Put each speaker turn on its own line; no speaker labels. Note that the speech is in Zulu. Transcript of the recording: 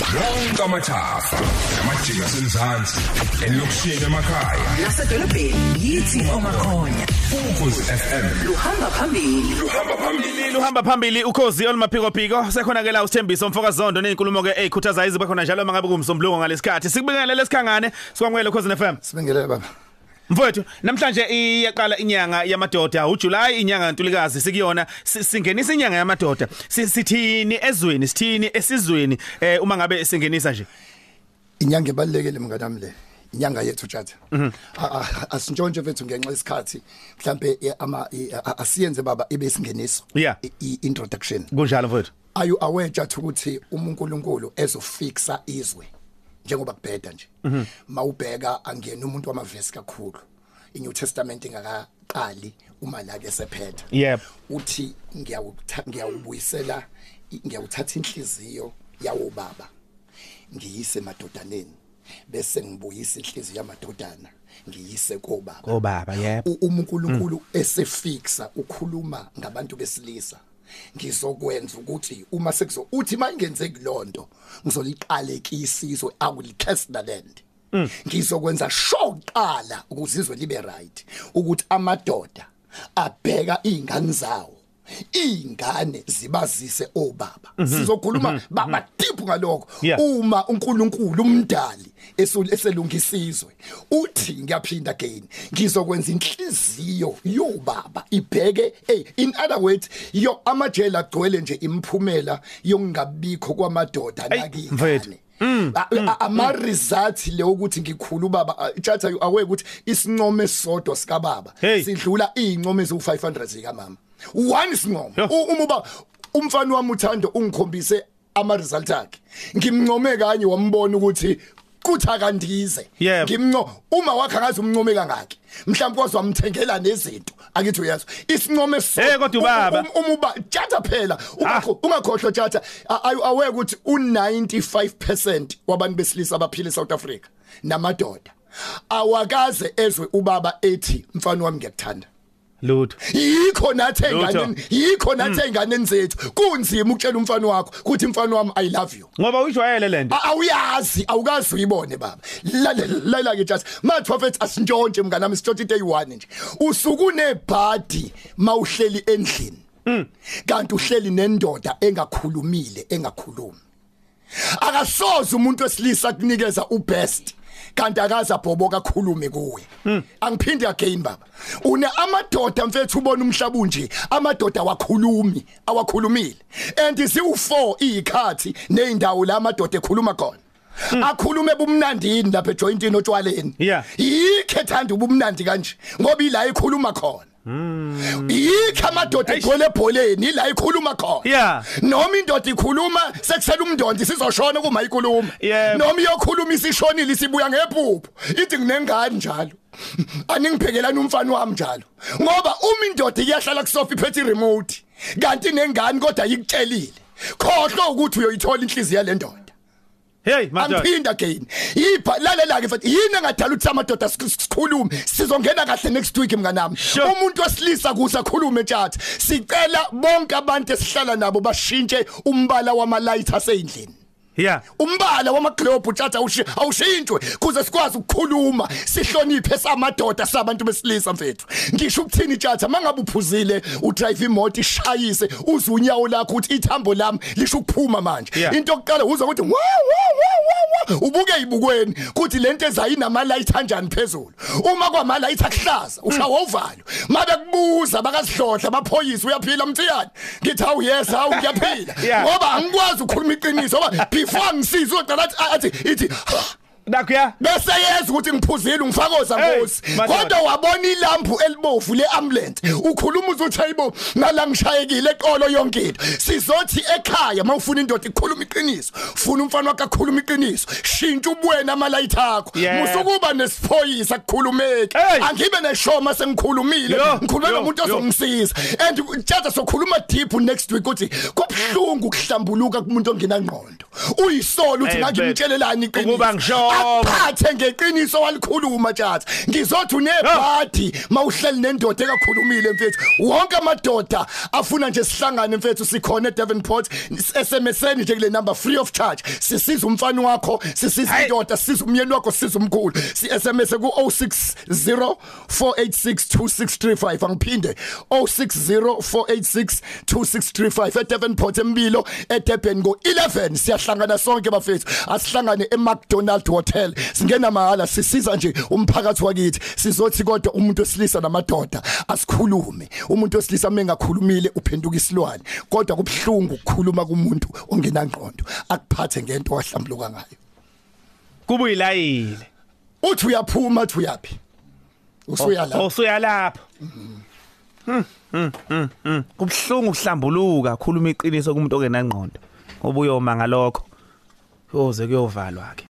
Wonke amathafa, amajika senzansi, elokishini emakhaya.
nasedolobheni yithi omakhonya
Ukhozi FM
luhamba phambili
luhamba phambili.
luhamba phambili ukhozi olumaphikophiko sekhona ke la usithembiso mfokazondo nezinkulumo ke ezikhuthaza izibe khona njalo mangabe kumsombuluko ngalesisikhathi sikubingelele lesikhangane sikwamukele ukhozi FM
Sibingelele baba.
mfowethu namhlanje iyaqala inyanga yamadoda uJuly inyanga yantulikazi sikuyona si- singenisa inyanga yamadoda Si- sithini ezweni sithini esizweni eh, uma ngabe singenisa nje
Inyanga ebalekele mngane wami le. Inyanga yethu tjata. A- a- Asintshontshe fethu ngenxa yesikhathi mhlambe eh, ama eh, a- asiyenze baba ibe singeniso.
Yeah.
I- I introduction.
kunjalo mfowethu
Are you aware tjata ukuthi uMunkulunkulu ezofixa izwe njengoba kubheda nje. Mawubheka angena umuntu wamavesi kakhulu. iNew Testament ingakaqali uma la ke sephetha.
Yep.
uthi ngiyawutha- ngiyawubuyisela i- ngiyawuthatha inhliziyo yawo baba ngiyise emadodaneni bese ngibuyisa inhliziyo yamadodana ngiyise kobaba
Kobaba, yebo. Mm.
U- uma uNkulunkulu esefixa ukhuluma ngabantu besilisa ngizokwenza ukuthi uma sekuzo uthi mayingenzeki lonto ngizoliqalekisa izwe i will test the land
Mm.
ngizokwenza sure qala ukuze izwe libe right ukuthi amadoda abheka ingane zawo ingane zibazise obaba sizokhuluma baba deep ngalokho
Mhm. Yeah.
uma uNkulunkulu umdali esu- eselungisizwe uthi ngiyaphinda again ngizokwenza inhliziyo yobaba ibheke hey in other words yo amajele agcwele nje imphumela yokungabikho kwamadoda
Hey, mfethu.
nakingane
Mm.
A- a- ama results le ukuthi ngikhulu baba tjatha you aware ukuthi isincomo esisodwa sika baba
Hey.
sidlula izincomo ezu500 zika mama one sincomo
Yo.
U- uma uba umfana wami uthando ungikhombise ama result akhe ngimncome kanye wambona ukuthi kutha kandize
Yeah.
ngimnco uma wakhangaza umncome kangaki mhlawumbe kwazwamthengela nezinto akithi uyazo isincomo
Eh, kodwa ubaba.
uma uba tjata phela ungakho- ungakhohlwa tjata a- are you aware ukuthi u95% wabantu besilisa abaphila eSouth Africa namadoda awakaze ezwe ubaba ethi mfana wami ngiyakuthanda
lutho
yikho nathi
Lutho.
enganeni yikho nathi enganeni zethu kunzima ukutshela umfana wakho ukuthi mfana wami i love you
ngoba uyijwayele lento
A- awuyazi awukazi uyibone baba lalela ke just mathu prophet asintshontshe mngane nami sitshothe into eyi1 nje usuku unebhadi mawuhleli endlini kanti uhleli nendoda engakhulumile engakhulumi akasoze umuntu wesilisa kunikeza ubest kanti akaza bhobo kakhulume kuwe angiphindi again baba une amadoda mfethu ubona umhlaba unje amadoda wakhulumi awakhulumile and isiwu4 izikhathi nezindawo la amadoda ekhuluma khona akhulume bumnandini lapha ejointini otshwaleni
Yeah.
yikhe thanda ubumnandi kanje ngoba ila ikhuluma khona yikhe amadoda
Eish.
egcwele ebholeni ila ikhuluma khona
Yeah.
noma indoda ikhuluma sekusela umndondo sizoshona kuma ikhuluma
Yebo.
noma iyokhuluma isishonile sibuya ngephupho ithi nginengane njalo aningiphekelana umfana wami njalo ngoba uma indoda iyahlala kusofa iphethe remote kanti nengane kodwa ayikutshelile khohlwa ukuthi uyoyithola inhliziyo yalendoda
hey madoda
angiphinda again yipha lalela ke mfethu yini engadala ukuthi amadoda sik- sikhulume sizongena kahle next week mnganami
Sure.
umuntu wesilisa kuze akhulume tjata sicela bonke abantu esihlala nabo bashintshe umbala wama light aseyindlini
yeah
umbala wamaglobe tjata awushi- awushintshwe kuze sikwazi ukukhuluma sihloniphe samadoda sabantu besilisa mfethu ngisho ukuthini tjata mangabe uphuzile udrive imoto ishayise uze unyawo lakho uthi ithambo lami lisho ukuphuma manje
Yeah.
into okuqala uzwa ukuthi wa wa wa wa ubuke ibukweni kuthi lento ezayinama light kanjani phezulu uma kwama light akuhlaza ushawa uvalo mabe kubuza bakazihlohla baphoyisa uyaphila mthiyani ngithi awu yes awu
Yeah.
ngiyaphila ngoba angikwazi ukukhuluma iqiniso ngoba before ngisize uqala athi ithi "Ha."
nakho ya
bese yeza ukuthi ngiphuzile ngifakoza
Hey,
ngosi
madoda.
kodwa wabona ilampu elibovu leambulance ukhuluma uzuthi ayibo ngala ngishayekile eqolo yonke into sizothi ekhaya mawufuna indoda ikhuluma iqiniso funa umfana wakho akhuluma iqiniso shintsha ubuwena amalayithi akho
Yeah.
musukuba nesiphoyisa kukhulumeki
Hey.
angibe neshomo sengikhulumile
Yo,
ngikhuluma
yo,
nomuntu
yo.
ozongisiza and tjata sokhuluma deep next week ukuthi kubhlungu kuhlambuluka kumuntu ongenangqondo uyisola uthi
Hey,
ngakho
Beth.
imtshelelani iqiniso
Ukuba ngishoyo. Yebo.
akuphathe ngeqiniso walikhuluma tjata ngizothi unebhadi mawuhleli nendoda ekakhulumile mfethu wonke amadoda afuna nje sihlangane mfethu sikhona eDevonport SMS-eni nje kule number free of charge sisiza umfana wakho sisiza
Hey.
indoda sisiza umyeni wakho sisiza umkhulu si-SMS ku 0604862635 angiphinde 0604862635 eDevonport embilo eDurban ngo 11 siyahlangana sonke bafethu asihlangane eMcDonald Hotel singena mahala sisiza nje umphakathi wakithi sizothi kodwa umuntu osilisa namadoda asikhulume umuntu osilisa mengakhulumile uphenduka isilwane kodwa kubhlungu ukukhuluma kumuntu ongenangqondo akuphathe ngento wahlambuluka ngayo
kubuyilayile
uthi uyaphuma uthi uyapi usuya la
usuya Oh, lapho Hmm, hmm, hmm, hmm. kubhlungu kuhlambuluka khuluma iqiniso kumuntu ongenangqondo obuyoma ngalokho yoze kuyovalwa ke